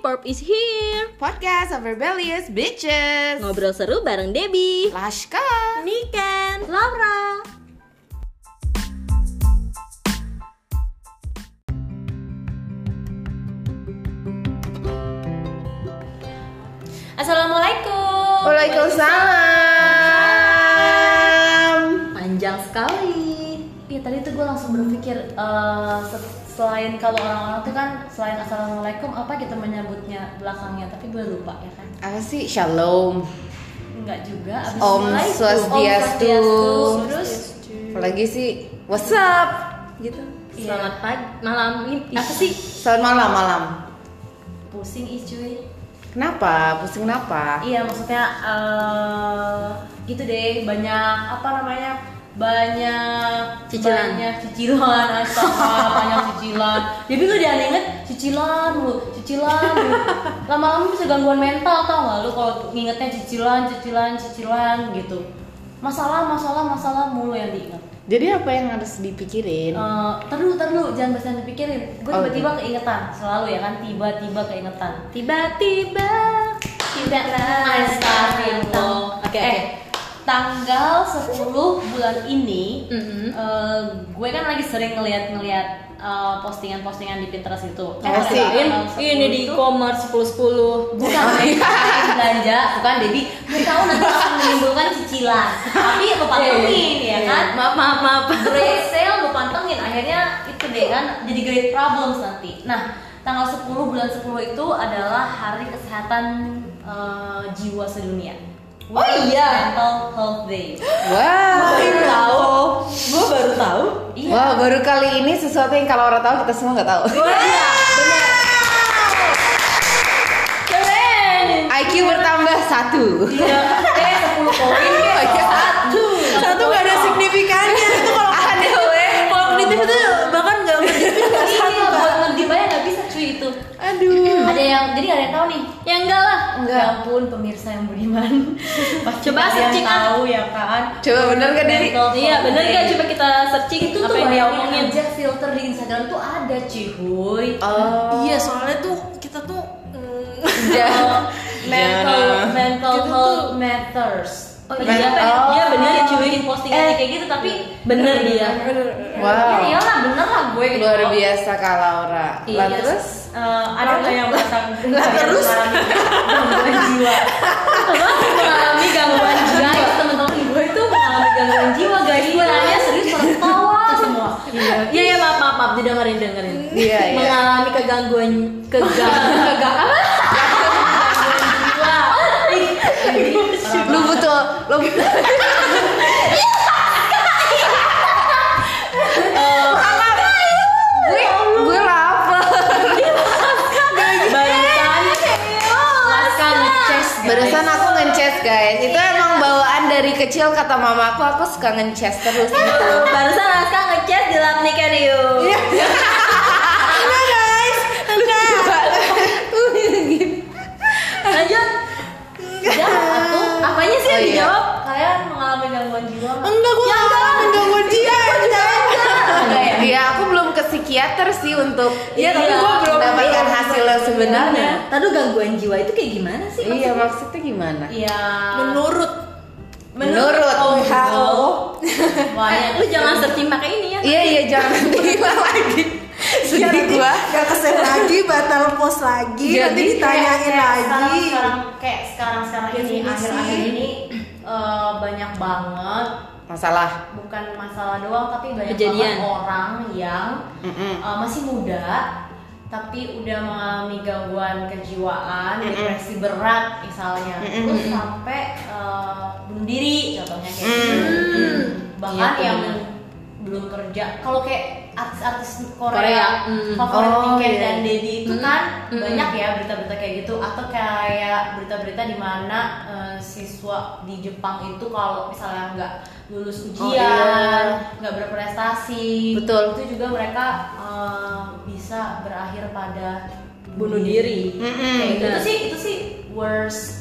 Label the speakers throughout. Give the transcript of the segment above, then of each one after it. Speaker 1: Pop is here
Speaker 2: Podcast of Rebellious Bitches
Speaker 1: Ngobrol seru bareng Debbie
Speaker 2: Lashka
Speaker 3: kan,
Speaker 1: Niken Laura Assalamualaikum
Speaker 2: Waalaikumsalam
Speaker 1: Panjang sekali
Speaker 3: Iya tadi tuh gue langsung berpikir eh, se- selain kalau orang-orang tuh kan selain assalamualaikum apa kita menyebutnya belakangnya tapi gue lupa ya kan
Speaker 2: Apa sih? Shalom
Speaker 3: enggak juga abis
Speaker 2: Om
Speaker 3: assalamualaikum.
Speaker 2: Swastiastu.
Speaker 3: Om Swastiastu. terus
Speaker 2: Apalagi sih What's up?
Speaker 1: gitu.
Speaker 3: Iya.
Speaker 1: Selamat pagi, malam ini
Speaker 3: apa sih
Speaker 2: Selamat malam malam
Speaker 3: pusing ih cuy
Speaker 2: Kenapa? Pusing kenapa?
Speaker 3: iya maksudnya eh, gitu deh banyak apa namanya banyak
Speaker 1: Cicilan.
Speaker 3: banyak cicilan astaga banyak cicilan jadi lu jangan inget cicilan lu cicilan lu lama-lama bisa gangguan mental tau gak lu kalau ngingetnya cicilan cicilan cicilan gitu masalah masalah masalah mulu yang diinget
Speaker 2: Jadi apa yang harus dipikirin?
Speaker 3: Eh, terus terus jangan biasa dipikirin gue
Speaker 2: Oh,
Speaker 3: tiba-tiba
Speaker 1: gitu.
Speaker 3: keingetan selalu ya kan tiba-tiba keingetan
Speaker 1: tiba-tiba tidak
Speaker 3: Astagfirullah.
Speaker 1: Oke,
Speaker 3: Eh,
Speaker 1: oke.
Speaker 3: tanggal 10 bulan ini
Speaker 1: Mhm.
Speaker 3: eh, gue kan lagi sering ngeliat-ngeliat eh, postingan-postingan di Pinterest itu.
Speaker 2: Eh,
Speaker 3: Kalau
Speaker 2: sih.
Speaker 3: tanggal 10
Speaker 1: Oh, ini di
Speaker 3: itu-
Speaker 1: e-commerce Oh, iya. 10 10.
Speaker 3: bukan Debbie, Ini belanja, bukan Debbie. Gue tahu nanti akan menimbulkan cicilan. Tapi lo
Speaker 1: iya.
Speaker 3: pantengin ya kan?
Speaker 1: Maaf, maaf, maaf.
Speaker 3: Great sale lo pantengin akhirnya itu deh kan jadi great problems nanti. Nah, tanggal 10 bulan 10 itu adalah hari kesehatan eh, jiwa sedunia.
Speaker 1: Oh iya.
Speaker 3: Mental Health Day.
Speaker 2: Wow
Speaker 1: tahu. Gue baru tahu.
Speaker 3: Iya.
Speaker 2: Wow baru kali ini sesuatu yang kalau orang tahu kita semua nggak tahu
Speaker 1: Iya, benar. Keren.
Speaker 2: IQ bertambah satu
Speaker 3: Iya. Eh, 10 poin ya.
Speaker 2: Satu Satu nggak ada signifikannya Itu kalau ada
Speaker 1: Kognitif itu bahkan nggak
Speaker 3: Iya, buat ngedip aja nggak bisa cuy itu.
Speaker 2: Aduh
Speaker 3: Ada yang jadi ada yang tahu nih.
Speaker 1: Ya enggak lah.
Speaker 2: Enggak.
Speaker 3: Ya ampun pemirsa yang beriman. Pasti
Speaker 1: Coba
Speaker 3: kalian
Speaker 1: searching,
Speaker 3: tahu ya kan.
Speaker 2: Coba bener nggak, Diri?
Speaker 3: Mental health
Speaker 1: Iya, benar
Speaker 3: day.
Speaker 1: nggak? Coba kita searching
Speaker 3: Itu tuh
Speaker 1: apa yang dia omongin.
Speaker 3: aja filter di Instagram tuh ada cuy.
Speaker 2: Oh
Speaker 4: Iya soalnya tuh kita tuh mm,
Speaker 2: Iya.
Speaker 3: mental
Speaker 2: Jangan.
Speaker 3: mental
Speaker 4: Kita
Speaker 3: health
Speaker 4: tuh-
Speaker 3: nah. matters.
Speaker 1: Oh
Speaker 2: iya.
Speaker 1: iya,
Speaker 2: Oh.
Speaker 1: iya benar
Speaker 3: Dia
Speaker 1: cuy.
Speaker 3: bikin
Speaker 1: Eh,
Speaker 3: postingan kayak gitu tapi
Speaker 1: bener dia.
Speaker 3: Ya
Speaker 1: Iya.
Speaker 2: Wow
Speaker 3: iyalah bener lah gue gitu.
Speaker 2: Luar biasa Kak Laura Lah
Speaker 3: Iya.
Speaker 2: terus
Speaker 3: Eh, ada nggak yang merasa
Speaker 2: Lah, terus?
Speaker 3: gangguan jiwa? Teman mengalami gangguan jiwa. Guys, teman-teman gue itu mengalami gangguan jiwa guys. Gue nanya serius orang ketawa semua.
Speaker 1: ya, Iya, iya, maaf, maaf, maaf, didengerin, dengerin.
Speaker 2: Iya iya
Speaker 1: Mengalami kegangguan, kegangguan, kegangguan.
Speaker 3: Jiwa. Jadi,
Speaker 2: Lu butuh Lu butuh Gue- Gue lapar
Speaker 1: Barusan,
Speaker 3: Laska nge-chest, guys.
Speaker 2: Barusan aku nge-chest guys Itu
Speaker 4: Iya.
Speaker 2: emang bawaan dari kecil kata mamaku Aku suka nge-chest terus gitu
Speaker 1: barusan Aska ngechat di lab nih kan yuk. Lanjut.
Speaker 3: Ya, aku
Speaker 1: Apanya sih yang
Speaker 2: Oh, iya.
Speaker 1: dijawab?
Speaker 3: kalian mengalami gangguan jiwa nggak?
Speaker 4: enggak
Speaker 2: Ya
Speaker 4: gue enggak lah gangguan dia
Speaker 3: Enggak ya?
Speaker 2: Iya aku belum ke psikiater sih untuk
Speaker 1: Iya, tapi gua belum-
Speaker 2: mendapatkan
Speaker 1: belum-
Speaker 2: hasil yang sebenarnya
Speaker 1: Tadu gangguan jiwa itu kayak gimana sih?
Speaker 2: Iya maksudnya gimana?
Speaker 3: Iya.
Speaker 4: menurut
Speaker 2: Menurut WHO
Speaker 3: Wah,
Speaker 1: Eh,
Speaker 3: ya.
Speaker 1: lu jangan searching pakai ini ya.
Speaker 2: Iya iya jangan terima lagi
Speaker 4: Biar
Speaker 2: Sedih
Speaker 4: nanti
Speaker 2: gua
Speaker 4: nggak kesel lagi batal post lagi
Speaker 2: Iya, Jadi
Speaker 4: nanti
Speaker 2: kayak-
Speaker 4: ditanyain lagi
Speaker 3: sekarang kayak sekarang sekarang ini
Speaker 4: Definisi.
Speaker 3: akhir-akhir ini eh, banyak banget
Speaker 2: Masalah
Speaker 3: bukan masalah doang tapi banyak
Speaker 1: Kejadian.
Speaker 3: banget orang yang
Speaker 2: Mm-mm.
Speaker 3: eh, masih muda tapi udah mengalami gangguan kejiwaan
Speaker 2: Mm-mm.
Speaker 3: depresi berat misalnya
Speaker 2: Mm-mm.
Speaker 3: terus sampai eh, bunuh diri contohnya kayak
Speaker 2: Mm.
Speaker 3: gitu
Speaker 1: Hmm.
Speaker 3: bahkan
Speaker 1: Iya,
Speaker 3: yang
Speaker 1: benar.
Speaker 3: belum kerja kalau kayak artis-artis Korea,
Speaker 1: Korea, mm.
Speaker 3: favorit
Speaker 2: Oh,
Speaker 3: Niken
Speaker 2: iya.
Speaker 3: dan Dedi itu
Speaker 1: Mm.
Speaker 3: kan
Speaker 2: Hmm.
Speaker 1: Mm.
Speaker 3: banyak ya berita-berita kayak gitu atau kayak berita-berita di mana eh, siswa di Jepang itu kalau misalnya nggak lulus
Speaker 2: Oh,
Speaker 3: ujian nggak berprestasi
Speaker 2: Betul.
Speaker 3: itu juga mereka eh, bisa berakhir pada
Speaker 2: Hmm.
Speaker 1: Bunuh diri.
Speaker 2: Mm-mm.
Speaker 3: Kayak gitu
Speaker 1: Benar.
Speaker 3: sih itu sih worst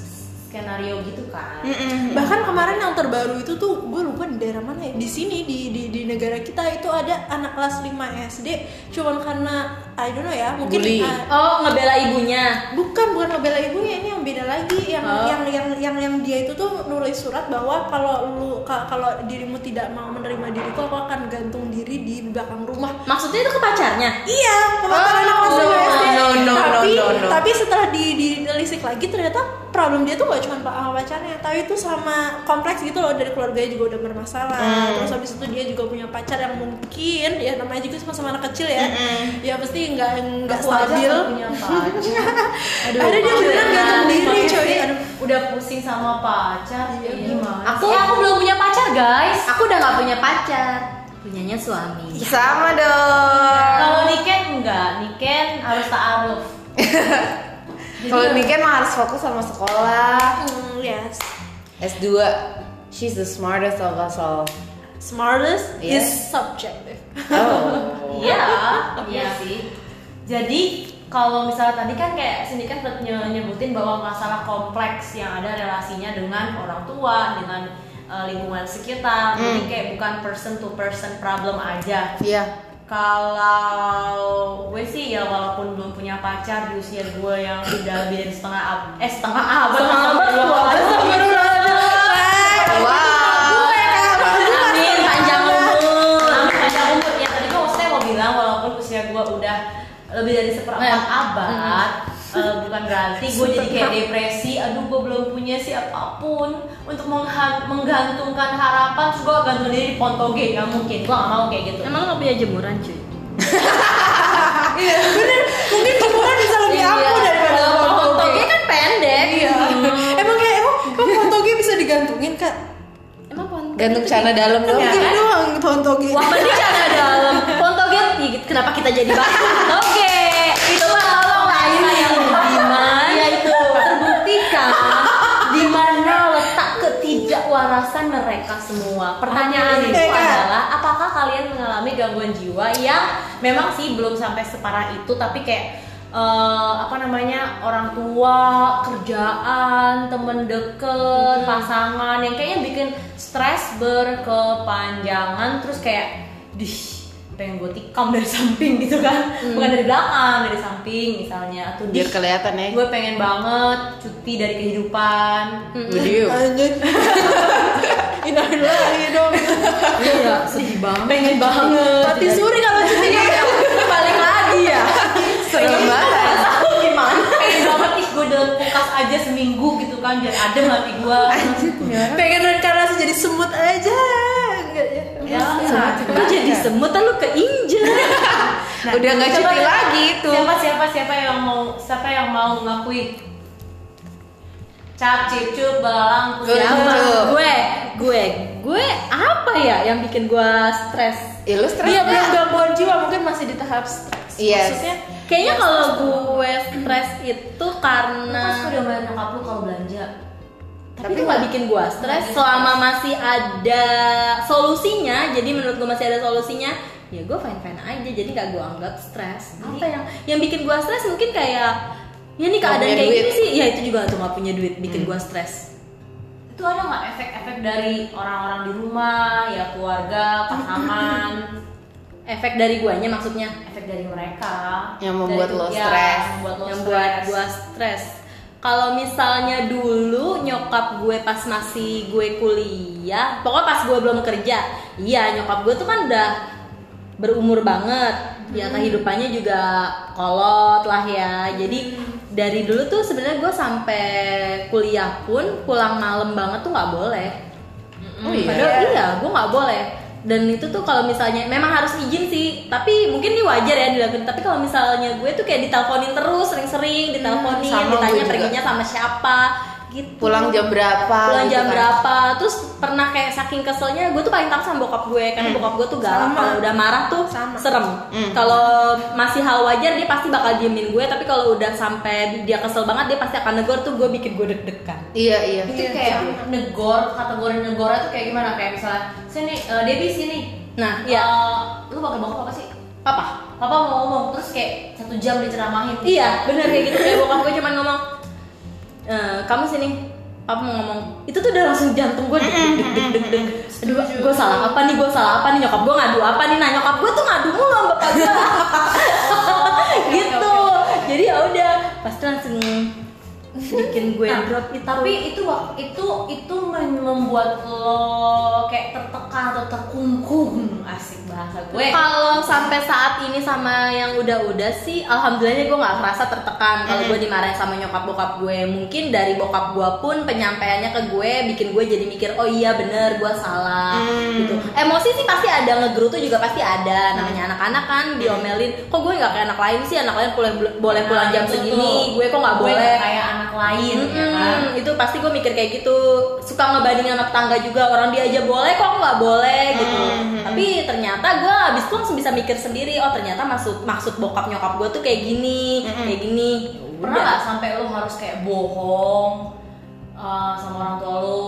Speaker 3: skenario gitu kan
Speaker 2: Mm-mm.
Speaker 4: Nah, bahkan kemarin yang terbaru itu tuh gue lupa di daerah mana ya di sini di di di negara kita itu ada anak kelas 5 SD cuman karena I don't know ya mungkin
Speaker 2: Bully.
Speaker 4: uh,
Speaker 1: Oh, ngebela ibunya.
Speaker 4: bukan bukan ngebela ibunya ini yang beda lagi yang
Speaker 1: Oh.
Speaker 4: yang yang yang yang dia itu tuh nulis surat bahwa kalau lu ka- kalau dirimu tidak mau menerima diriku aku akan gantung diri di belakang rumah
Speaker 1: Maksudnya itu ke pacarnya?
Speaker 4: Iya, kebakaran
Speaker 2: Oh,
Speaker 4: anak kelas
Speaker 2: no,
Speaker 4: lima SD.
Speaker 2: no, no,
Speaker 4: tapi,
Speaker 2: no, no.
Speaker 4: tapi setelah di, dinelisik lagi ternyata problem dia tuh gak cuma sama pacarnya, tapi itu sama kompleks gitu loh dari keluarganya juga udah bermasalah.
Speaker 2: Hmm.
Speaker 4: Terus habis itu dia juga punya pacar yang mungkin ya namanya juga sama-sama anak kecil ya. Ya pasti nggak nggak
Speaker 3: Aku aja
Speaker 4: stabil.
Speaker 3: nggak punya pacar. Aduh,
Speaker 4: Ada dia gitu.
Speaker 3: pacar.
Speaker 4: beneran gantung
Speaker 2: Mm.
Speaker 4: diri,
Speaker 3: Pakai
Speaker 4: coy.
Speaker 3: sih,
Speaker 4: Iya. Aduh.
Speaker 3: Udah pusing sama pacar. Iya, gimana?
Speaker 1: Aku-
Speaker 3: sih? aku belum punya pacar, guys.
Speaker 1: Aku udah nggak punya pacar, punyanya suami.
Speaker 2: Sama dong.
Speaker 3: Kalau Niken enggak, Niken harus ta'aruf. Jadi-
Speaker 2: Kalau Niken mah harus fokus sama sekolah.
Speaker 4: Hmm, yes.
Speaker 2: S2. She's the smartest of us all.
Speaker 4: Smartest
Speaker 2: Yes.
Speaker 4: is subjective.
Speaker 2: Oh.
Speaker 3: Iya, iya sih. Jadi kalau misalnya tadi kan kayak Cindy kan sempat nye- nyebutin bahwa masalah kompleks yang ada relasinya dengan orang tua, dengan eh, lingkungan sekitar. Jadi kayak bukan person to person problem aja.
Speaker 2: Iya.
Speaker 3: Kalau gue sih ya walaupun belum punya pacar di usia gue yang udah lebih dari setengah ab eh setengah abad
Speaker 1: Setengah abad, dua abad,
Speaker 2: Wow.
Speaker 3: Amin panjang umur. Amin panjang umur. Ya tadi gue maksudnya mau bilang walaupun usia gue udah lebih dari seperempat
Speaker 1: Nah.
Speaker 3: abad,
Speaker 1: Hmm.
Speaker 3: eh, bukan berarti gue jadi kayak depresi. Aduh gue belum punya sih apapun untuk mengha- menggantungkan harapan. Terus gue gantung diri di pontoge nggak mungkin. Gue nggak mau kayak gitu.
Speaker 1: Emang nggak punya jemuran cuy?
Speaker 4: Mungkin jemuran bisa lebih
Speaker 1: Iya.
Speaker 4: ampuh daripada
Speaker 2: Oh.
Speaker 1: Kalau
Speaker 4: foto
Speaker 1: Pontoge kan pendek.
Speaker 4: Iya. Emang ya emang emang foto gue bisa digantungin kak?
Speaker 1: Emang pontoge.
Speaker 2: Gantung
Speaker 1: itu
Speaker 2: celana dalam dong.
Speaker 4: Mungkin doang foto gue.
Speaker 1: Wah, ini celana dalam. Pontoge digigit. Kenapa kita jadi bahas pontoge? Itu mah orang lain yang budiman.
Speaker 3: Ya itu terbuktikan di mana letak ketidakwarasan mereka semua. Pertanyaan itu
Speaker 4: Eh,
Speaker 1: iya.
Speaker 4: Kak.
Speaker 3: adalah apakah kalian mengalami gangguan jiwa yang memang sih belum sampai separah itu tapi kayak eh, apa namanya orang tua, kerjaan, temen deket, pasangan yang kayaknya bikin stres berkepanjangan terus kayak dih pengen gue tikam dari samping gitu kan bukan dari belakang dari samping misalnya atau
Speaker 2: Biar kelihatan ya.
Speaker 3: gue pengen banget cuti dari kehidupan
Speaker 2: With you.
Speaker 4: Anjir. Inahin lagi dong.
Speaker 1: Iya, sedih banget.
Speaker 3: pengen banget
Speaker 4: Mati suri kalau cuti.
Speaker 1: Balik lagi ya.
Speaker 2: Serem banget.
Speaker 3: gimana pengen banget ih gue dalam kulkas aja seminggu gitu kan biar adem hati gue
Speaker 4: Pengen reinkarnasi jadi semut aja. Enggak ya.
Speaker 3: ya
Speaker 1: Lu jadi semut, lu keinjek.
Speaker 2: Nah, Udah nggak
Speaker 3: coba
Speaker 2: cuti
Speaker 3: siapa-
Speaker 2: lagi itu.
Speaker 3: siapa siapa siapa yang mau siapa yang mau mengakui cap cip cup belalang
Speaker 2: Gue, gue.
Speaker 1: Ya, Gue, gue, gue apa ya yang bikin gue stres?
Speaker 2: Ya lu stres
Speaker 4: Dia
Speaker 2: nggak?
Speaker 4: Iya, belum gangguan jiwa mungkin masih di tahap stres.
Speaker 2: Yes.
Speaker 4: Maksudnya
Speaker 1: Kayaknya kalau gue stres itu karena
Speaker 3: Mas udah bayar nyokap lu kalau belanja
Speaker 1: tapi itu nggak bikin gue stres selama masih ada solusinya. Jadi menurut gue masih ada solusinya, ya gue fine fine aja. Jadi nggak gue anggap stres. Apa yang yang bikin gue stres mungkin kayak ya nih
Speaker 2: Nggak
Speaker 1: keadaan
Speaker 2: punya
Speaker 1: kayak
Speaker 2: duit.
Speaker 1: gini sih. Ya itu juga tuh nggak punya duit bikin gue stres.
Speaker 3: Hmm. itu ada nggak efek-efek dari orang-orang di rumah ya keluarga pasangan
Speaker 1: Efek dari guanya maksudnya
Speaker 3: efek dari mereka
Speaker 2: Yang membuat
Speaker 3: Dari-
Speaker 2: lo
Speaker 3: ya,
Speaker 2: stres.
Speaker 3: yang membuat lo
Speaker 1: yang
Speaker 3: stres.
Speaker 1: buat gue stres. Kalau misalnya dulu nyokap gue pas masih gue kuliah, pokoknya pas gue belum kerja, iya nyokap gue tuh kan udah berumur banget, ya
Speaker 3: Hmm.
Speaker 1: kehidupannya juga kolot lah ya. Jadi dari dulu tuh sebenarnya gue sampai kuliah pun pulang malam banget tuh nggak boleh.
Speaker 2: Oh iya.
Speaker 1: Padahal iya, gue nggak boleh. Dan itu tuh kalau misalnya memang harus izin sih, tapi mungkin ini wajar ya dilakukan. Tapi kalau misalnya gue tuh kayak diteleponin terus, sering-sering diteleponin,
Speaker 2: Hmm, sama gue
Speaker 1: ditanya
Speaker 2: juga.
Speaker 1: perginya sama siapa, gitu.
Speaker 2: Pulang jam berapa?
Speaker 1: Pulang
Speaker 2: gitu
Speaker 1: jam
Speaker 2: kan.
Speaker 1: berapa? Terus pernah kayak saking keselnya, gue tuh paling takut sama bokap gue karena bokap gue tuh galak.
Speaker 4: Sama.
Speaker 1: Kalau udah marah tuh
Speaker 4: Sama.
Speaker 1: serem.
Speaker 2: Hmm.
Speaker 1: Kalau masih hal wajar dia pasti bakal diemin gue, tapi kalau udah sampai dia kesel banget dia pasti akan negor tuh gue bikin gue deg-degan.
Speaker 2: Iya iya.
Speaker 3: itu
Speaker 4: Iya,
Speaker 3: kayak
Speaker 4: sama.
Speaker 3: negor kategori negor itu kayak gimana kayak misalnya sini eh, Debbie sini
Speaker 1: Nah, iya.
Speaker 3: Eh, lu bakal bokap apa sih
Speaker 1: Papa,
Speaker 3: papa mau ngomong terus kayak satu jam diceramahin Nah,
Speaker 1: gitu. Iya, bener kayak gitu. Kayak bokap gue cuman ngomong, "Eh, kamu sini, papa mau ngomong itu tuh udah langsung jantung gue deg deg deg deg deg deg. aduh gue salah apa nih gue salah apa nih nyokap gue ngadu apa nih nah nyokap gue tuh ngadu mulu sama bapak gue gitu jadi ya udah pasti langsung bikin gue
Speaker 3: Nah,
Speaker 1: drop itu
Speaker 3: tapi itu wak- itu itu men- membuat lo kayak tertekan atau terkungkung asik bahasa gue
Speaker 1: kalau sampai saat ini sama yang udah-udah sih alhamdulillahnya gue nggak merasa tertekan kalau gue dimarahin sama nyokap bokap gue mungkin dari bokap gue pun penyampaiannya ke gue bikin gue jadi mikir oh iya bener gue salah
Speaker 3: Mm.
Speaker 1: gitu emosi sih pasti ada ngegerutu juga pasti ada namanya anak-anak kan diomelin kok gue nggak kayak anak lain sih anak lain boleh boleh pulang
Speaker 3: Mm. Nah,
Speaker 1: jam
Speaker 3: itu
Speaker 1: segini
Speaker 3: tuh.
Speaker 1: gue kok nggak boleh
Speaker 3: kayak anak lain ya kan
Speaker 1: Mm-mm, itu pasti gue mikir kayak gitu suka ngebandingin anak tangga juga orang dia aja boleh kok nggak boleh gitu tapi ternyata gue abis itu langsung bisa mikir sendiri oh ternyata maksud maksud bokap nyokap gue tuh kayak gini kayak gini
Speaker 3: pernah nggak sampai lo harus kayak bohong uh, sama orang tua lo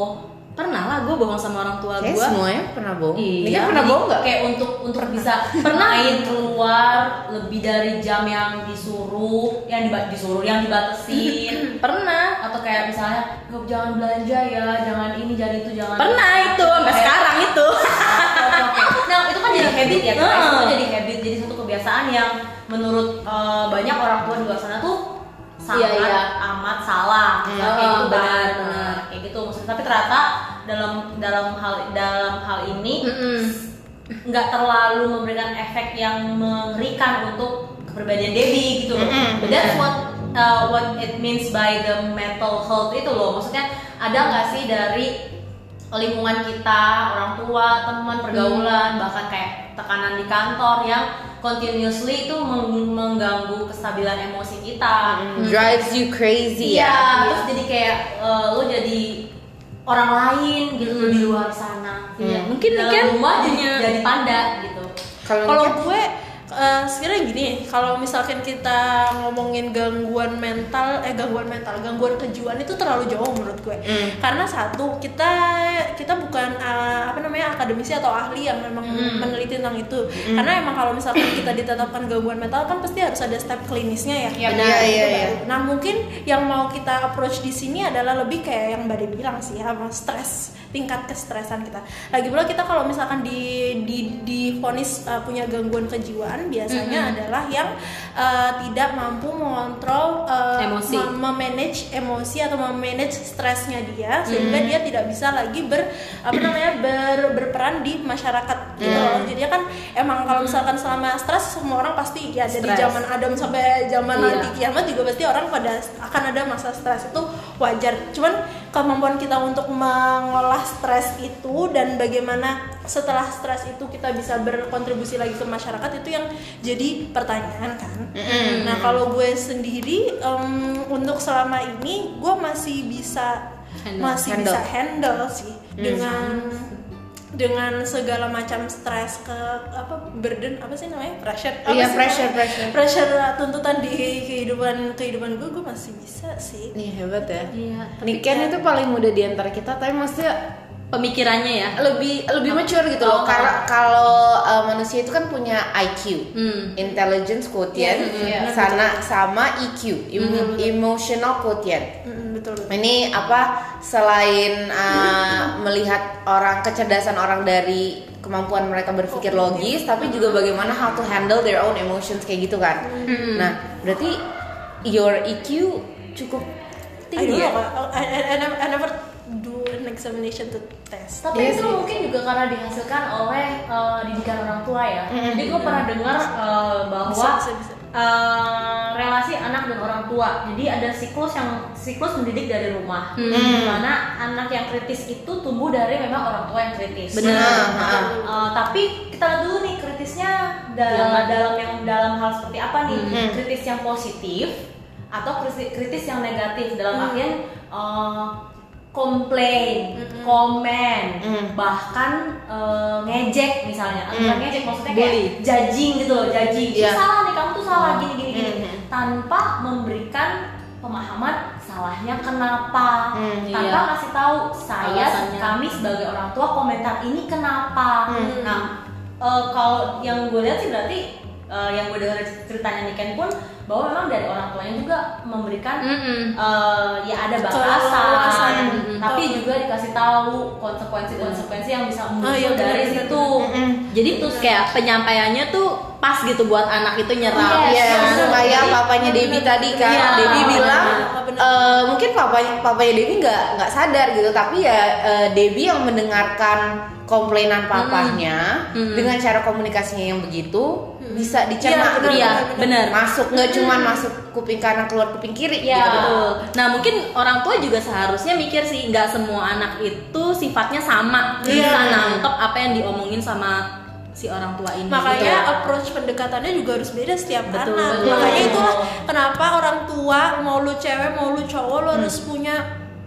Speaker 1: pernah lah gue bohong sama orang tua
Speaker 2: Kayaknya
Speaker 1: gue
Speaker 2: semuanya pernah bohong.
Speaker 1: Iya.
Speaker 2: Mika Gitu. kan pernah bohong nggak?
Speaker 3: kayak untuk untuk bisa pernah main keluar lebih dari jam yang disuruh yang diba- disuruh yang dibatasin
Speaker 1: pernah
Speaker 3: atau kayak misalnya "Gop, jangan belanja ya jangan ini jangan itu jangan
Speaker 1: pernah itu sampai
Speaker 3: Kayak-
Speaker 1: sekarang itu
Speaker 3: Oke, oke. Nah itu kan jadi habit ya guys,
Speaker 1: Heeh.
Speaker 3: itu jadi habit, jadi satu kebiasaan yang menurut eh, banyak orang tua di luar sana tuh sangat
Speaker 1: Iya, iya.
Speaker 3: amat salah. Nah, kayak
Speaker 1: Oh,
Speaker 3: gitu
Speaker 1: benar,
Speaker 3: benar,
Speaker 1: benar.
Speaker 3: kayak gitu. Maksudnya, tapi ternyata dalam dalam hal dalam hal ini
Speaker 1: Mm-mm.
Speaker 3: nggak terlalu memberikan efek yang mengerikan untuk kepribadian Debbie gitu loh. But that's what uh, what it means by the mental health itu loh. Maksudnya ada nggak sih dari lingkungan kita, orang tua, teman, pergaulan, bahkan kayak tekanan di kantor yang continuously itu meng- mengganggu kestabilan emosi kita.
Speaker 2: Drives you crazy
Speaker 3: Hmm. Iya,
Speaker 2: ya.
Speaker 3: terus jadi kayak uh, lo jadi orang lain gitu lo di luar sana. Iya,
Speaker 1: Mungkin
Speaker 3: dalam
Speaker 1: Niken
Speaker 3: rumah jadi
Speaker 1: punya-
Speaker 3: jadi panda gitu.
Speaker 4: kalau gue eh, sekiranya gini kalau misalkan kita ngomongin gangguan mental eh gangguan mental gangguan kejiwaan itu terlalu jauh menurut gue karena satu kita kita bukan eh, apa namanya akademisi atau ahli yang memang meneliti tentang itu karena emang kalau misalkan kita ditetapkan gangguan mental kan pasti harus ada step klinisnya ya
Speaker 2: Benar, iya, iya, iya.
Speaker 4: Nah mungkin yang mau kita approach di sini adalah lebih kayak yang Mbak Dewi bilang sih ya, sama stres, tingkat kestresan kita. Lagi pula kita kalau misalkan di di divonis uh, punya gangguan kejiwaan biasanya adalah yang uh, tidak mampu mengontrol uh,
Speaker 1: Emosi.
Speaker 4: mem- memanage emosi atau memanage stresnya dia sehingga dia tidak bisa lagi ber apa namanya ber, berperan di masyarakat gitu
Speaker 2: Mm.
Speaker 4: loh. Jadi kan emang kalau misalkan selama stres semua orang pasti ya jadi
Speaker 1: Stres.
Speaker 4: zaman Adam sampai zaman
Speaker 1: Iya.
Speaker 4: nanti kiamat juga pasti orang pada akan ada masa stres itu wajar. Cuman kemampuan kita untuk mengolah stres itu dan bagaimana setelah stres itu kita bisa berkontribusi lagi ke masyarakat itu yang jadi pertanyaan kan. Nah kalau gue sendiri em, untuk selama ini gue masih bisa
Speaker 1: Handle. Mm.
Speaker 4: masih
Speaker 2: Handle.
Speaker 4: bisa handle sih dengan dengan segala macam stres ke apa burden apa sih namanya pressure apa
Speaker 2: Iya,
Speaker 4: sih
Speaker 2: pressure,
Speaker 4: namanya?
Speaker 2: pressure.
Speaker 4: pressure tuntutan di kehidupan kehidupan gue gue masih bisa sih
Speaker 2: Nih hebat ya.
Speaker 1: Iya,
Speaker 2: Niken itu paling muda di antara kita, tapi maksudnya
Speaker 1: pemikirannya ya
Speaker 2: lebih lebih mature gitu loh.
Speaker 3: Oh,
Speaker 2: Karena kalau uh, manusia itu kan punya IQ,
Speaker 1: Hmm.
Speaker 2: intelligence quotient,
Speaker 3: Iya, Hmm, iya.
Speaker 2: sana sama EQ, emo- emotional quotient.
Speaker 4: Mm, betul betul
Speaker 2: Ini apa selain uh, melihat orang kecerdasan orang dari kemampuan mereka berpikir logis, tapi juga bagaimana how to handle their own emotions kayak gitu kan.
Speaker 3: Hmm.
Speaker 2: Nah, berarti your EQ cukup
Speaker 4: I don't
Speaker 2: tinggi. ya?
Speaker 4: know Iya. I, I, I never, I never do an examination to test
Speaker 3: Tapi
Speaker 2: Iya
Speaker 3: itu
Speaker 2: sih.
Speaker 3: mungkin juga karena dihasilkan oleh eh, didikan orang tua ya. Jadi gue pernah dengar eh, bahwa
Speaker 4: Bisa, bisa, bisa.
Speaker 3: eh, relasi anak dan orang tua. Jadi ada siklus yang siklus mendidik dari rumah. Dimana anak yang kritis itu tumbuh dari memang orang tua yang kritis.
Speaker 1: Benar.
Speaker 2: Nah,
Speaker 3: Eh, tapi kita lihat dulu nih kritisnya dalam
Speaker 1: Yang- Hmm.
Speaker 3: dalam yang dalam hal seperti apa nih kritis yang positif atau kritis, kritis yang negatif dalam
Speaker 1: Hmm.
Speaker 3: artian eh, komplain,
Speaker 1: Hmm.
Speaker 3: komen, bahkan eh, ngejek misalnya, Bukan ngejek maksudnya kayak
Speaker 1: Hmm. Bully. Hmm.
Speaker 3: judging gitu loh, judging. Ini
Speaker 2: Iya.
Speaker 3: salah nih kamu tuh salah gini gini gini, tanpa memberikan pemahaman salahnya kenapa,
Speaker 2: Hmm,
Speaker 3: tanpa
Speaker 1: iya.
Speaker 3: kasih tahu saya
Speaker 1: Alasannya.
Speaker 3: kami sebagai orang tua komentar ini kenapa
Speaker 4: Hmm.
Speaker 3: nah eh, kalau yang gue lihat sih berarti eh, yang gue dengar ceritanya Niken pun bahwa memang dari orang tuanya juga memberikan
Speaker 4: Hmm.
Speaker 1: Mm-mm.
Speaker 3: eh, ya ada
Speaker 4: Keleluasan.
Speaker 3: batasan,
Speaker 4: Mm-mm.
Speaker 3: tapi juga dikasih tahu konsekuensi-konsekuensi yang bisa muncul
Speaker 4: Oh, iya,
Speaker 3: dari
Speaker 4: benar-benar.
Speaker 3: situ.
Speaker 1: Jadi tuh kayak penyampaiannya tuh pas gitu buat anak itu nyerap.
Speaker 3: Yes.
Speaker 2: Iya,
Speaker 3: Bener.
Speaker 2: kayak papanya Debi tadi kan,
Speaker 1: Iya.
Speaker 2: Debi bilang
Speaker 4: Bener.
Speaker 2: eh, mungkin papanya papanya Debi nggak nggak sadar gitu, tapi ya eh, Debi yang mendengarkan komplainan papanya
Speaker 1: Hmm.
Speaker 2: dengan cara komunikasinya yang begitu bisa dicerna
Speaker 4: Iya,
Speaker 2: gitu.
Speaker 1: Iya, bener.
Speaker 2: masuk nggak cuman masuk kuping kanan keluar kuping kiri
Speaker 3: Iya.
Speaker 2: gitu.
Speaker 1: Betul. Nah mungkin orang tua juga seharusnya mikir sih nggak semua anak itu sifatnya sama bisa nangkep apa yang diomongin sama si orang tua ini. Gitu.
Speaker 4: makanya
Speaker 1: Betul.
Speaker 4: approach pendekatannya juga harus beda setiap
Speaker 1: Betul,
Speaker 4: anak
Speaker 1: betul.
Speaker 4: makanya itulah kenapa orang tua mau lu cewek mau lu cowok
Speaker 1: Hmm.
Speaker 4: lu harus punya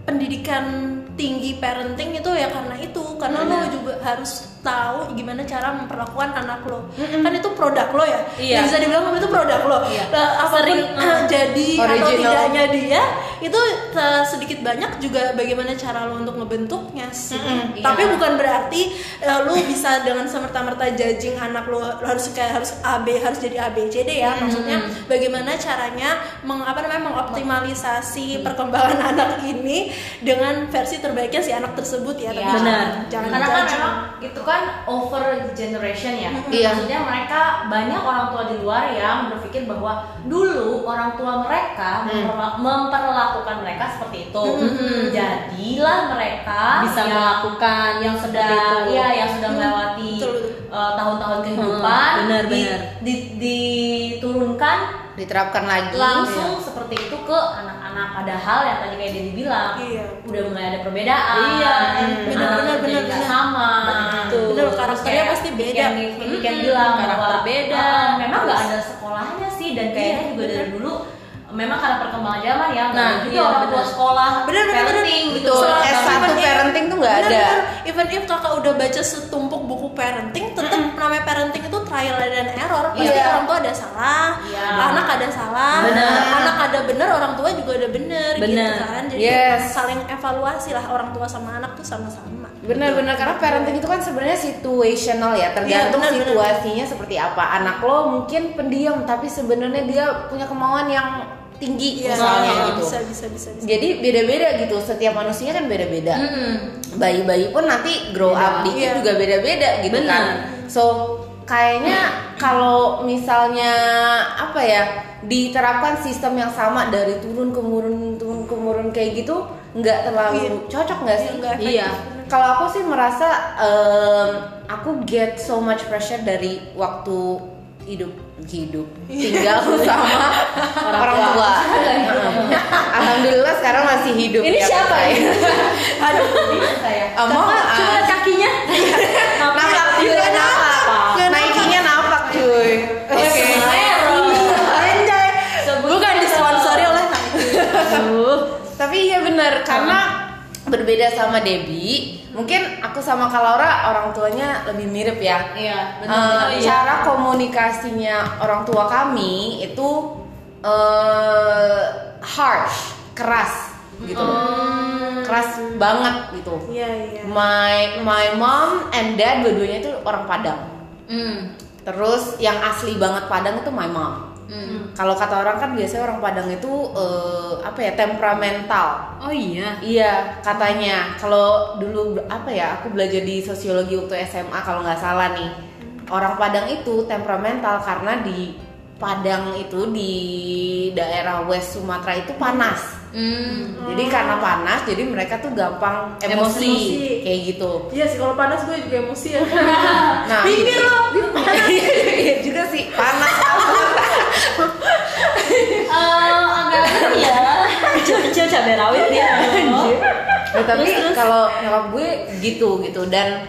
Speaker 4: pendidikan tinggi parenting itu ya karena itu karena lo juga harus tahu gimana cara memperlakukan anak lo kan itu produk lo ya
Speaker 1: Hmm. Iya.
Speaker 4: bisa dibilang itu produk lo
Speaker 1: Iya.
Speaker 4: Nah, apapun
Speaker 1: Sering, uh-huh.
Speaker 4: eh, jadi atau
Speaker 2: Original.
Speaker 4: tidaknya dia itu eh, sedikit banyak juga bagaimana cara lo untuk ngebentuknya sih
Speaker 3: iya.
Speaker 2: Mm-mm,
Speaker 4: tapi bukan berarti eh, lu bisa dengan semerta-merta judging anak lu lu harus kayak harus AB harus jadi ABCD ya maksudnya bagaimana caranya meng, apa namanya mengoptimalisasi perkembangan anak ini dengan versi terbaiknya si anak tersebut
Speaker 3: Iya.
Speaker 4: ya tadi.
Speaker 1: Benar.
Speaker 4: jangan
Speaker 3: Karena kan
Speaker 4: judging.
Speaker 3: memang itu kan over generation ya.
Speaker 2: Iya.
Speaker 3: Maksudnya mereka banyak orang tua di luar yang berpikir bahwa dulu orang tua mereka
Speaker 1: Hmm.
Speaker 3: memperla- memperlakukan mereka seperti itu. Jadilah mereka
Speaker 1: Mm-hmm. bisa
Speaker 3: yang
Speaker 1: melakukan yang
Speaker 3: yang
Speaker 1: sedang Iya.
Speaker 3: sudah ya yang sudah melewati
Speaker 4: Mm-hmm. betul.
Speaker 3: uh, tahun-tahun kehidupan
Speaker 1: Hmm, benar,
Speaker 3: di-
Speaker 1: benar.
Speaker 3: di- diturunkan
Speaker 2: Diterapkan lagi.
Speaker 3: langsung seperti itu ke anak-anak padahal yang tadi kayak Dedi bilang
Speaker 4: Iya.
Speaker 3: udah mulai ada perbedaan
Speaker 1: Iya,
Speaker 4: benar,
Speaker 3: anak
Speaker 4: benar,
Speaker 3: jadi
Speaker 4: benar,
Speaker 3: nggak
Speaker 4: benar.
Speaker 3: sama
Speaker 1: Betul.
Speaker 4: Benar, karakternya
Speaker 3: Kayak
Speaker 4: pasti beda.
Speaker 3: yang di- yang,
Speaker 1: Mm-mm,
Speaker 3: bilang
Speaker 1: karakter
Speaker 3: bahwa,
Speaker 1: beda.
Speaker 3: "Ah, memang nggak ada sekolahnya sih dan kayaknya juga dari dulu memang karena perkembangan zaman ya nggak
Speaker 1: Nah,
Speaker 3: ada juga
Speaker 1: iya,
Speaker 3: orang tua
Speaker 1: benar.
Speaker 3: sekolah
Speaker 4: Benar, benar, benar.
Speaker 3: parenting gitu
Speaker 2: Betul.
Speaker 4: Soalnya
Speaker 2: S1
Speaker 4: even if-
Speaker 2: parenting tuh nggak
Speaker 4: benar,
Speaker 2: ada.
Speaker 4: benar. Even if kakak udah baca setumpuk buku parenting, tetap namanya parenting itu trial dan error. Pasti
Speaker 2: Iya.
Speaker 4: orang tua ada salah,
Speaker 3: Iya.
Speaker 4: anak ada salah,
Speaker 1: Benar.
Speaker 4: anak ada benar, orang tua juga ada benar,
Speaker 1: Benar.
Speaker 4: gitu kan. Jadi
Speaker 2: Yes.
Speaker 4: saling evaluasi lah orang tua sama anak tuh sama-sama.
Speaker 2: Benar-benar karena parenting itu kan sebenarnya situational ya, tergantung
Speaker 4: Iya, benar, benar.
Speaker 2: situasinya seperti apa. Anak lo mungkin pendiam tapi sebenarnya dia punya kemauan yang tinggi
Speaker 4: Iya,
Speaker 2: misalnya gitu.
Speaker 4: Bisa, bisa, bisa, bisa.
Speaker 2: Jadi beda-beda gitu, setiap manusia kan beda-beda. Bayi-bayi pun nanti grow up dikit
Speaker 4: Iya.
Speaker 2: juga beda-beda gitu
Speaker 1: Benar.
Speaker 2: kan. So kayaknya kalau misalnya apa ya diterapkan sistem yang sama dari turun ke murun turun ke murun kayak gitu nggak terlalu cocok nggak sih?
Speaker 4: Iya, nggak
Speaker 1: Iya.
Speaker 2: Kalau aku sih merasa em, aku get so much pressure dari waktu hidup hidup tinggal sama orang, tua. Alhamdulillah sekarang masih hidup.
Speaker 1: Ini siapa
Speaker 2: Kak?
Speaker 1: ya?
Speaker 3: aduh bingung saya
Speaker 2: Among Us.
Speaker 1: Coba kakinya.
Speaker 2: Napak juga napak. Nike-nya napak cuy. Oke. Anjay.
Speaker 3: bukan
Speaker 2: Disponsori oleh Tapi iya benar karena berbeda sama Debbie, mungkin aku sama Kalaura orang tuanya lebih mirip ya.
Speaker 3: iya
Speaker 2: Eh,
Speaker 3: benar
Speaker 2: cara komunikasinya orang tua kami itu eh harsh, keras gitu.
Speaker 3: Hmm.
Speaker 2: Keras banget gitu.
Speaker 4: Iya, iya.
Speaker 2: My my mom and dad dua-duanya itu orang Padang.
Speaker 3: Hmm.
Speaker 2: Terus yang asli banget Padang itu my mom.
Speaker 3: Hmm.
Speaker 2: Kalau kata orang kan biasanya orang Padang itu eh, apa ya temperamental.
Speaker 1: Oh iya.
Speaker 2: Iya, katanya. Kalau dulu apa ya? Aku belajar di sosiologi waktu SMA kalau nggak salah nih. Orang Padang itu temperamental karena di Padang itu di daerah West Sumatera itu panas.
Speaker 4: Hmm.
Speaker 2: Jadi
Speaker 4: Oh.
Speaker 2: karena panas, jadi mereka tuh gampang emosi,
Speaker 1: Emosi.
Speaker 2: kayak gitu.
Speaker 4: Iya sih, kalau panas gue juga emosi ya.
Speaker 2: Nah,
Speaker 4: Bibir lo.
Speaker 2: Iya juga sih, panas.
Speaker 3: Eh, agak ya. Iya.
Speaker 1: Iya. Kecil-kecil cabai rawit ya.
Speaker 2: Ya, tapi kalau nyokap gue gitu gitu dan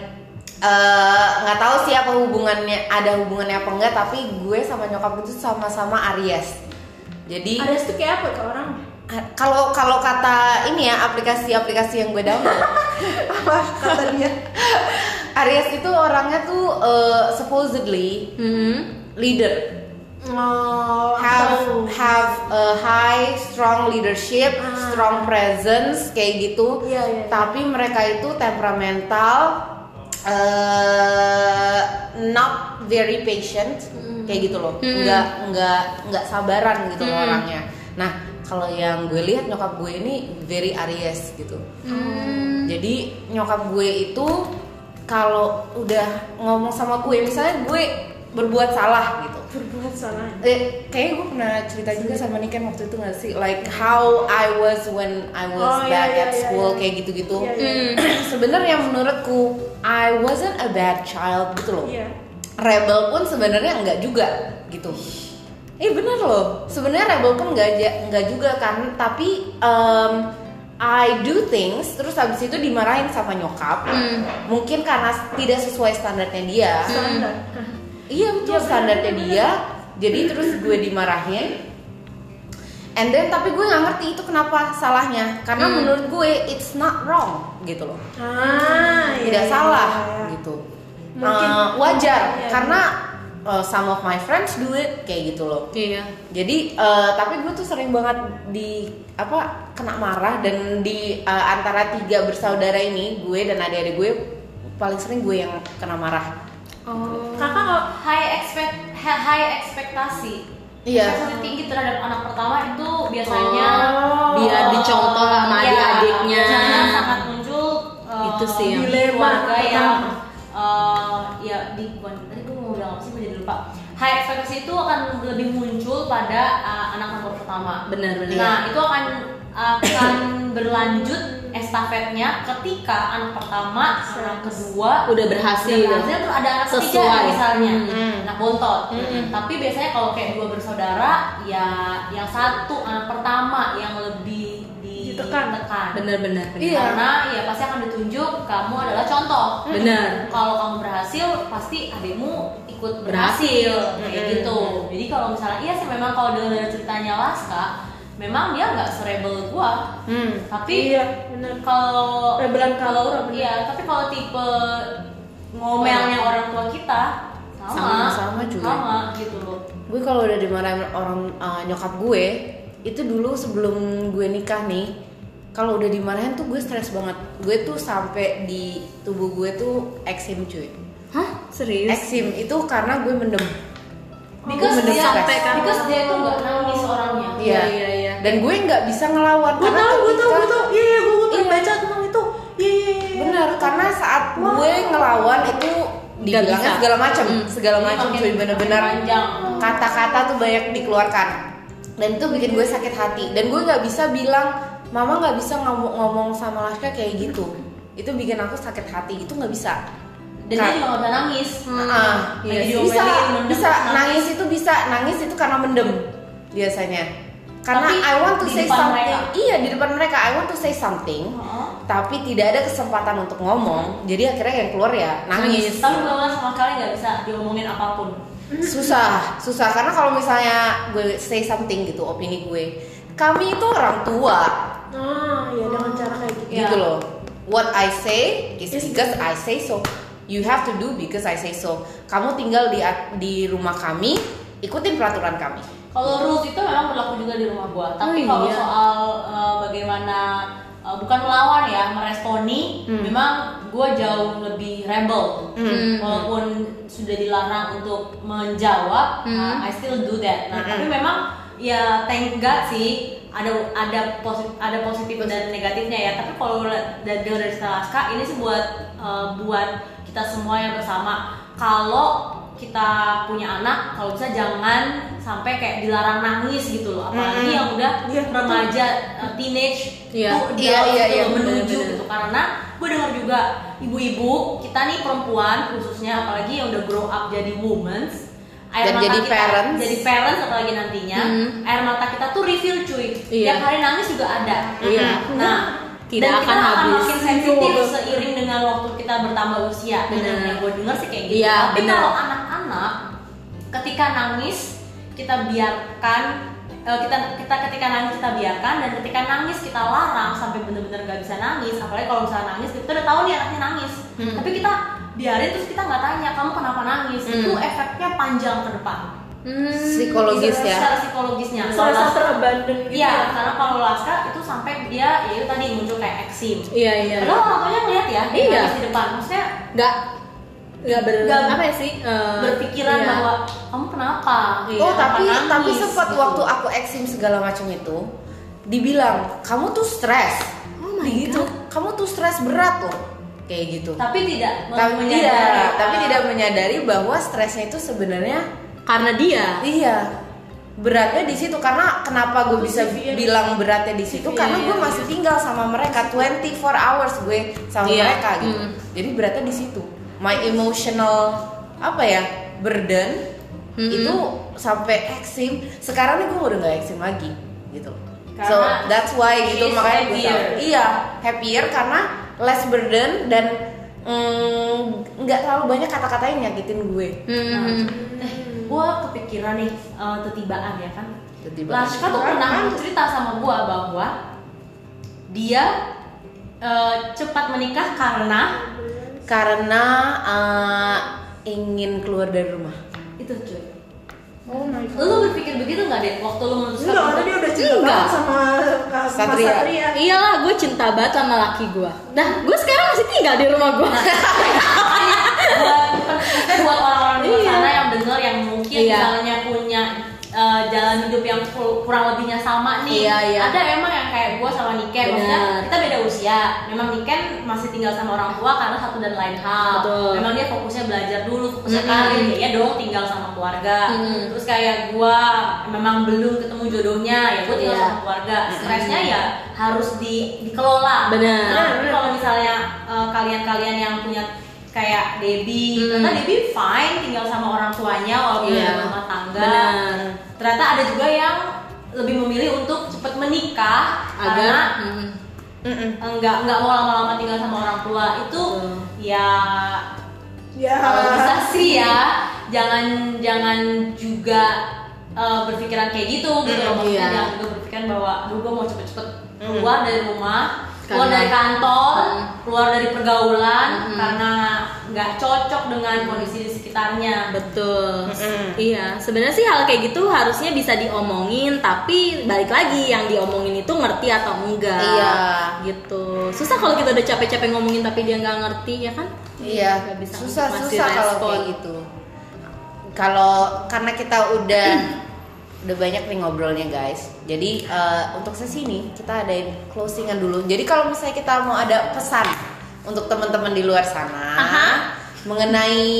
Speaker 2: eh, nggak tahu sih apa hubungannya ada hubungannya apa enggak tapi gue sama nyokap gue tuh sama-sama Aries jadi
Speaker 4: Ada itu kayak apa ke orang?
Speaker 2: a- kalau kalau kata ini ya aplikasi-aplikasi yang gue download
Speaker 4: Apa kata dia?
Speaker 2: Aries itu orangnya tuh eh, supposedly
Speaker 4: Mm-hmm.
Speaker 2: leader
Speaker 4: Oh,
Speaker 2: have
Speaker 4: aku tahu.
Speaker 2: have a high strong leadership
Speaker 4: Ah.
Speaker 2: strong presence kayak gitu
Speaker 4: Iya, iya.
Speaker 2: tapi mereka itu temperamental eh not not very patient kayak gitu loh
Speaker 1: Hmm.
Speaker 2: nggak nggak nggak sabaran gitu loh
Speaker 1: Hmm.
Speaker 2: orangnya nah kalau yang gue lihat nyokap gue ini very Aries gitu
Speaker 4: Hmm.
Speaker 2: jadi nyokap gue itu kalau udah ngomong sama gue misalnya gue berbuat salah gitu
Speaker 4: berbuat salah
Speaker 2: Eh, kayaknya gue pernah cerita juga sama Niken waktu itu gak sih? Like how I was when I was
Speaker 4: Oh, iya,
Speaker 2: back
Speaker 4: iya,
Speaker 2: at
Speaker 4: iya,
Speaker 2: school
Speaker 4: iya.
Speaker 2: kayak gitu-gitu.
Speaker 4: Iya, iya.
Speaker 1: Hmm.
Speaker 2: Sebenarnya menurutku I wasn't a bad child gitu loh.
Speaker 4: iya
Speaker 2: Rebel pun sebenarnya enggak juga gitu. Eh bener loh. Sebenarnya rebel pun enggak ja- enggak juga kan, tapi em, I do things terus habis itu dimarahin sama nyokap.
Speaker 1: Hmm.
Speaker 2: Mungkin karena tidak sesuai standarnya dia.
Speaker 4: standar
Speaker 2: Iya betul standarnya dia. Jadi terus gue dimarahin. And then tapi gue nggak ngerti itu kenapa salahnya. Karena menurut gue it's not wrong gitu loh.
Speaker 4: ah iya,
Speaker 2: Tidak
Speaker 4: iya,
Speaker 2: salah
Speaker 4: iya, iya.
Speaker 2: gitu.
Speaker 4: Mungkin-
Speaker 2: Eh, wajar
Speaker 4: Iya.
Speaker 2: karena eh, some of my friends do it kayak gitu loh.
Speaker 1: Iya.
Speaker 2: Jadi eh, tapi gue tuh sering banget di apa kena marah dan di eh, antara tiga bersaudara ini gue dan adik-adik gue paling sering gue yang kena marah.
Speaker 4: kakak nggak
Speaker 3: high expect ha- high ekspektasi
Speaker 2: Iya.
Speaker 3: Ekspektasi tinggi terhadap anak pertama itu biasanya
Speaker 4: Oh.
Speaker 1: Biar dicontoh lah sama
Speaker 3: Iya,
Speaker 1: adik-adiknya.
Speaker 3: biasanya sangat muncul eh,
Speaker 1: Itu sih yang-
Speaker 3: di
Speaker 4: Dilema
Speaker 3: keluarga
Speaker 4: pertama.
Speaker 3: yang eh, ya di bukan tadi gue mau bilang apa sih gue jadi lupa high ekspektasi itu akan lebih muncul pada eh, anak nomor pertama
Speaker 1: Benar-benar.
Speaker 3: Nah, itu akan akan berlanjut estafetnya ketika anak pertama, anak kedua
Speaker 1: Udah berhasil.
Speaker 3: udah berhasil, terus ada anak
Speaker 1: Iya.
Speaker 3: ketiga ya
Speaker 1: Sesuai.
Speaker 3: misalnya, Nah,
Speaker 2: Hmm.
Speaker 3: anak bontot. Tapi biasanya kalau kayak dua bersaudara, ya yang satu anak pertama yang lebih di-
Speaker 4: Ditekan.
Speaker 1: Benar-benar.
Speaker 2: Iya.
Speaker 3: Karena ya pasti akan ditunjuk kamu adalah contoh.
Speaker 1: Benar.
Speaker 3: Kalau kamu berhasil, pasti adikmu ikut
Speaker 1: Berhasil.
Speaker 3: berhasil, kayak gitu. Jadi kalau misalnya iya sih memang kalau dengar ceritanya Laska, memang dia nggak serebel gua,
Speaker 2: Hmm.
Speaker 3: tapi
Speaker 4: iya benar Eh,
Speaker 3: kalau
Speaker 4: Rebelan
Speaker 3: kalau
Speaker 4: Kalora, bener.
Speaker 3: iya tapi kalau tipe ngomelnya
Speaker 4: Iya.
Speaker 3: orang tua kita sama
Speaker 2: Sama, sama juga.
Speaker 3: sama gitu loh
Speaker 2: gue kalau udah dimarahin orang uh, nyokap gue itu dulu sebelum gue nikah nih kalau udah dimarahin tuh gue stres banget gue tuh sampai di tubuh gue tuh eksim cuy
Speaker 1: Hah? Serius?
Speaker 2: eksim Iya, itu karena gue mendem Gue
Speaker 3: because
Speaker 2: mendem
Speaker 3: dia
Speaker 2: sampai kan.
Speaker 3: because dia itu nggak nangis orangnya
Speaker 1: Iya, iya, iya.
Speaker 2: dan gue nggak bisa ngelawan
Speaker 4: gue tau gue tau
Speaker 2: ketika-
Speaker 4: gue tau iya iya gue gue pernah
Speaker 2: Iya.
Speaker 4: baca tentang itu iya iya iya
Speaker 2: bener karena saat gue ngelawan itu dibilangnya
Speaker 1: bisa.
Speaker 2: segala macam segala
Speaker 3: Jadi
Speaker 2: macam
Speaker 3: makin-
Speaker 2: cuy bener-bener
Speaker 3: makin panjang.
Speaker 2: kata-kata tuh banyak dikeluarkan dan itu bikin gue sakit hati dan gue nggak bisa bilang mama nggak bisa ngomong ngomong sama Laska kayak gitu itu bikin aku sakit hati itu nggak bisa
Speaker 3: dan dia juga nggak bisa nangis
Speaker 2: Ah,
Speaker 3: Lagi
Speaker 2: iya.
Speaker 3: diomelin,
Speaker 2: bisa
Speaker 3: mendem,
Speaker 2: bisa
Speaker 3: nangis.
Speaker 2: nangis itu bisa nangis itu karena mendem biasanya karena
Speaker 3: Tapi
Speaker 2: I want to
Speaker 3: di
Speaker 2: say
Speaker 3: depan
Speaker 2: something
Speaker 3: mereka.
Speaker 2: iya di depan mereka I want to say something
Speaker 3: Heeh.
Speaker 2: tapi tidak ada kesempatan untuk ngomong jadi akhirnya yang keluar ya nangis
Speaker 3: tapi benar sama sekali nggak bisa diomongin apapun
Speaker 2: susah susah karena kalau misalnya gue say something gitu opini gue kami itu orang tua
Speaker 4: ah iya dengan cara kayak gitu
Speaker 2: gitu
Speaker 3: Iya.
Speaker 2: loh what I say is
Speaker 4: Is-
Speaker 2: because I say so you have to do because I say so kamu tinggal di di rumah kami ikutin peraturan kami
Speaker 3: kalau rules itu memang berlaku juga di rumah gua tapi
Speaker 1: Oh,
Speaker 3: kalau
Speaker 1: iya.
Speaker 3: soal eh, bagaimana eh, bukan melawan ya meresponi memang gua jauh lebih rebel
Speaker 1: Hmm.
Speaker 3: walaupun sudah dilarang untuk menjawab
Speaker 1: Hmm.
Speaker 3: nah, I still do that nah tapi memang ya thank God sih ada ada positif ada positif dan negatifnya ya tapi kalau la- dari dari Stalaska ini sih buat eh, buat kita semua yang bersama kalau kita punya anak kalau bisa jangan sampai kayak dilarang nangis gitu loh apalagi yang udah
Speaker 4: Iya, betul.
Speaker 3: remaja eh, teenage
Speaker 1: Iya.
Speaker 2: Iya,
Speaker 3: tuh adult
Speaker 2: iya,
Speaker 3: gitu
Speaker 2: iya,
Speaker 3: loh, menuju
Speaker 1: benar-benar.
Speaker 3: gitu karena gue dengar juga ibu-ibu kita nih perempuan khususnya apalagi yang udah grow up jadi women air
Speaker 2: Dan
Speaker 3: mata
Speaker 2: jadi
Speaker 3: kita
Speaker 2: parents.
Speaker 3: jadi parents apalagi nantinya
Speaker 1: Hmm.
Speaker 3: air mata kita tuh refill cuy
Speaker 1: Iya.
Speaker 3: tiap hari nangis juga ada
Speaker 1: Iya.
Speaker 3: nah
Speaker 1: Tidak akan
Speaker 3: dan kita akan
Speaker 1: habis.
Speaker 3: makin sensitif seiring dengan waktu kita bertambah usia dan
Speaker 1: Benar.
Speaker 3: yang gue dengar sih kayak gitu
Speaker 1: Iya,
Speaker 3: tapi
Speaker 1: benar.
Speaker 3: kalau anak-anak ketika nangis kita biarkan eh, kita kita ketika nangis kita biarkan dan ketika nangis kita larang sampai bener-bener nggak bisa nangis apalagi kalau misalnya nangis kita udah tahu nih anaknya nangis tapi kita biarin terus kita nggak tanya kamu kenapa nangis itu efeknya panjang ke depan
Speaker 2: psikologis ya
Speaker 3: secara psikologisnya
Speaker 4: serasa
Speaker 3: Kalau-
Speaker 4: terabandon gitu
Speaker 3: Iya, karena kalau Laska itu sampai dia ya itu tadi muncul kayak eksim.
Speaker 1: Iya, iya.
Speaker 3: Padahal orang tuanya ngeliat ya,
Speaker 1: Iya.
Speaker 3: nangis di depan. Maksudnya
Speaker 1: Nggak nggak ber
Speaker 3: Nggak-
Speaker 1: apa ya sih eh,
Speaker 3: berpikiran
Speaker 1: iya.
Speaker 3: bahwa kamu kenapa?
Speaker 1: Iya,
Speaker 2: Oh tapi
Speaker 3: kenapa
Speaker 2: tapi
Speaker 3: nangis?"
Speaker 2: sempat
Speaker 3: gitu.
Speaker 2: waktu aku eksim segala macam itu dibilang kamu tuh stres.
Speaker 1: Oh my
Speaker 2: Gitu. Kamu tuh stres berat loh. Kayak gitu.
Speaker 3: tapi tidak
Speaker 2: Tapi
Speaker 3: menyadari.
Speaker 2: tidak, tapi tidak menyadari bahwa stresnya itu sebenarnya
Speaker 1: karena dia
Speaker 2: iya beratnya di situ karena kenapa gue bisa
Speaker 3: ya.
Speaker 4: Iya.
Speaker 2: bilang beratnya di situ karena gue
Speaker 3: Iya.
Speaker 2: masih tinggal sama mereka 24 hours gue sama
Speaker 1: Iya.
Speaker 2: mereka gitu.
Speaker 3: Hmm.
Speaker 1: Mm.
Speaker 2: Jadi beratnya di situ. My emotional apa ya burden
Speaker 3: Hmm.
Speaker 1: Mm-mm.
Speaker 2: itu sampai eksim. Sekarang nih gue udah nggak eksim lagi gitu. so
Speaker 3: Karena
Speaker 2: that's why gitu
Speaker 3: she's
Speaker 2: makanya gue
Speaker 3: happier.
Speaker 2: tahu. iya happier karena less burden dan mm, nggak terlalu banyak kata-kata yang nyakitin gue.
Speaker 1: Hmm.
Speaker 3: Eh, gua kepikiran nih eh, tetibaan ya kan.
Speaker 2: Tetibaan.
Speaker 3: Laska tuh pernah cerita sama gua bahwa dia eh, cepat menikah karena
Speaker 2: karena eh, ingin keluar dari rumah.
Speaker 3: itu cuy.
Speaker 4: Oh my god.
Speaker 3: Lu berpikir begitu nggak deh waktu lu memutuskan
Speaker 4: Enggak,
Speaker 3: untuk-
Speaker 4: tadi udah cinta
Speaker 3: Enggak.
Speaker 4: banget sama Mas
Speaker 2: Satria.
Speaker 4: Satria.
Speaker 1: Iyalah, gue cinta banget sama laki gue. Nah, gue sekarang masih tinggal di rumah gue.
Speaker 3: buat maksudnya buat orang-orang di luar sana yang dengar yang mungkin
Speaker 1: Iya.
Speaker 3: misalnya punya uh, jalan hidup yang kur- kurang lebihnya sama nih
Speaker 1: Iya, iya.
Speaker 3: ada emang yang kayak gue sama Niken maksudnya
Speaker 1: Benar.
Speaker 3: kita beda usia memang Niken masih tinggal sama orang tua karena satu dan lain hal
Speaker 1: Betul.
Speaker 3: memang dia fokusnya belajar dulu fokusnya
Speaker 1: Mm-mm.
Speaker 3: karir ya dong tinggal sama keluarga
Speaker 1: Mm.
Speaker 3: terus kayak gue memang belum ketemu jodohnya ya gue tinggal
Speaker 1: Iya.
Speaker 3: sama keluarga stresnya ya harus di dikelola
Speaker 1: Benar.
Speaker 3: Nah, tapi kalau misalnya eh, kalian-kalian yang punya kayak Debbie,
Speaker 1: Hmm.
Speaker 3: ternyata Debbie fine tinggal sama orang tuanya walaupun
Speaker 1: Iya.
Speaker 3: di rumah tangga.
Speaker 1: Benar.
Speaker 3: Ternyata ada juga yang lebih memilih untuk cepat menikah karena
Speaker 1: Agak. Mm.
Speaker 3: enggak enggak mau lama-lama tinggal sama orang tua itu
Speaker 1: Betul.
Speaker 3: ya
Speaker 4: Ya.
Speaker 3: kalau bisa sih ya jangan jangan juga eh, berpikiran kayak gitu gitu loh
Speaker 1: Hmm,
Speaker 3: maksudnya
Speaker 1: iya. Hmm.
Speaker 3: jangan juga berpikiran bahwa aduh gue mau cepet-cepet keluar dari rumah keluar
Speaker 1: Karena-
Speaker 3: dari kantor
Speaker 1: Hmm.
Speaker 3: keluar dari pergaulan
Speaker 1: Hmm.
Speaker 3: karena nggak cocok dengan kondisi di sekitarnya
Speaker 1: Betul.
Speaker 2: Mm-mm.
Speaker 1: Iya, sebenarnya sih hal kayak gitu harusnya bisa diomongin, tapi balik lagi yang diomongin itu ngerti atau enggak.
Speaker 2: Iya.
Speaker 1: Gitu. Susah kalau kita udah capek-capek ngomongin tapi dia nggak ngerti, ya kan?
Speaker 2: Iya,
Speaker 1: Nggak bisa
Speaker 2: susah
Speaker 1: masih
Speaker 2: susah kalau
Speaker 1: respon.
Speaker 2: kayak gitu. Kalau karena kita udah udah banyak nih ngobrolnya guys. Jadi eh, untuk sesi ini kita adain closingan dulu. Jadi kalau misalnya kita mau ada pesan untuk teman-teman di luar sana mengenai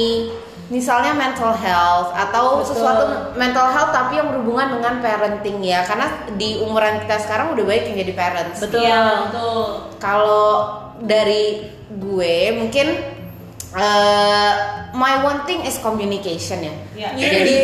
Speaker 2: misalnya mental health atau
Speaker 1: Betul.
Speaker 2: sesuatu mental health tapi yang berhubungan dengan parenting ya. Karena di umuran kita sekarang udah banyak yang jadi parents.
Speaker 1: Betul.
Speaker 3: Iya, betul
Speaker 2: Kalau dari gue mungkin eh, my one thing is communication ya.
Speaker 3: Iya.
Speaker 2: Jadi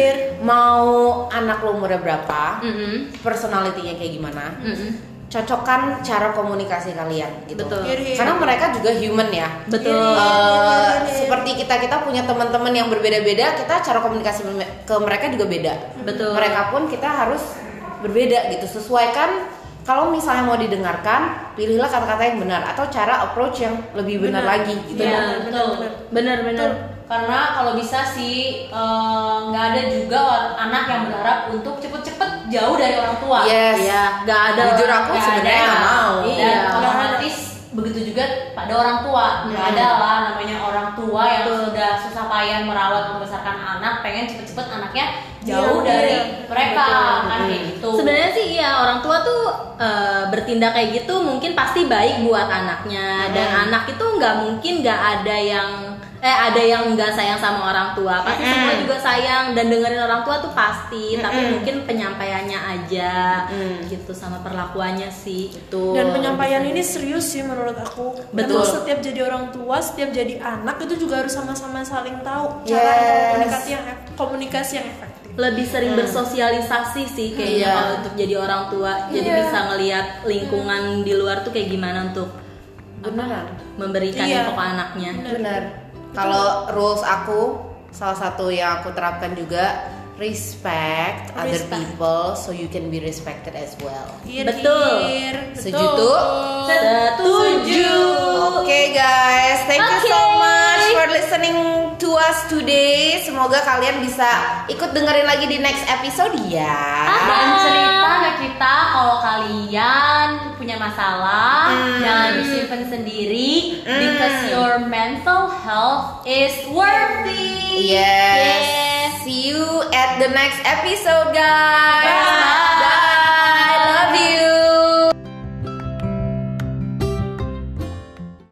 Speaker 2: mau anak lo umurnya berapa,
Speaker 1: Mm-mm.
Speaker 2: personalitinya kayak gimana,
Speaker 1: Mm-mm.
Speaker 2: cocokkan cara komunikasi kalian gitu.
Speaker 1: Betul.
Speaker 4: Iya, iya.
Speaker 2: Karena mereka juga human ya.
Speaker 1: Betul.
Speaker 2: Eh,
Speaker 4: Iya, iya.
Speaker 2: seperti kita kita punya teman-teman yang berbeda-beda, kita cara komunikasi me- ke mereka juga beda.
Speaker 1: Betul.
Speaker 2: Mereka pun kita harus berbeda gitu, sesuaikan. Kalau misalnya mau didengarkan, pilihlah kata-kata yang benar atau cara approach yang lebih benar,
Speaker 4: Benar.
Speaker 2: lagi gitu.
Speaker 3: Iya,
Speaker 1: Benar,
Speaker 3: betul
Speaker 1: Benar-benar.
Speaker 3: karena kalau bisa sih eh, nggak ada juga or- anak yang berharap untuk cepet-cepet jauh dari orang tua
Speaker 2: Yes.
Speaker 1: Iya, nggak ada.
Speaker 2: Jujur aku
Speaker 3: Nggak
Speaker 2: sebenarnya
Speaker 3: ada.
Speaker 2: nggak mau.
Speaker 3: Iya,
Speaker 1: Iya.
Speaker 3: otomatis begitu juga pada orang tua. Nggak ada lah namanya orang tua yang sudah susah payah merawat membesarkan anak, pengen cepet-cepet anaknya jauh
Speaker 4: Iya,
Speaker 3: dari
Speaker 4: iya.
Speaker 3: mereka
Speaker 1: Betul.
Speaker 3: kan kayak gitu.
Speaker 1: Sebenarnya sih iya orang tua tuh eh, bertindak kayak gitu mungkin pasti baik buat anaknya dan anak itu nggak mungkin nggak ada yang eh ada yang nggak sayang sama orang tua pasti semua juga sayang dan dengerin orang tua tuh pasti tapi mungkin penyampaiannya aja gitu sama perlakuannya sih gitu. itu
Speaker 4: Dan penyampaian ini serius sih menurut aku.
Speaker 1: Betul.
Speaker 4: Emang setiap jadi orang tua, setiap jadi anak itu juga harus sama-sama saling tahu cara
Speaker 2: Yes.
Speaker 4: komunikasi yang komunikasi yang efektif.
Speaker 1: lebih sering bersosialisasi sih kayaknya
Speaker 2: Iya.
Speaker 1: kalau untuk jadi orang tua jadi
Speaker 4: Iya.
Speaker 1: bisa ngelihat lingkungan di luar tuh kayak gimana untuk
Speaker 2: Beneran.
Speaker 1: memberikan
Speaker 4: Iya.
Speaker 1: info ke anaknya
Speaker 2: Benar. Kalau rules aku salah satu yang aku terapkan juga respect, other
Speaker 4: Respect.
Speaker 2: people so you can be respected as well.
Speaker 4: Iya,
Speaker 1: Betul.
Speaker 4: Dir.
Speaker 2: Sejutu?
Speaker 1: Setuju.
Speaker 2: Oke guys, thank you so
Speaker 1: Oke.
Speaker 2: much for listening to us us today. Semoga kalian bisa ikut dengerin lagi di next episode ya.
Speaker 3: dan cerita ke kita kalau kalian punya masalah jangan disimpan sendiri because your mental health is worthy
Speaker 2: Yes. See you at the next episode, guys.
Speaker 3: Bye.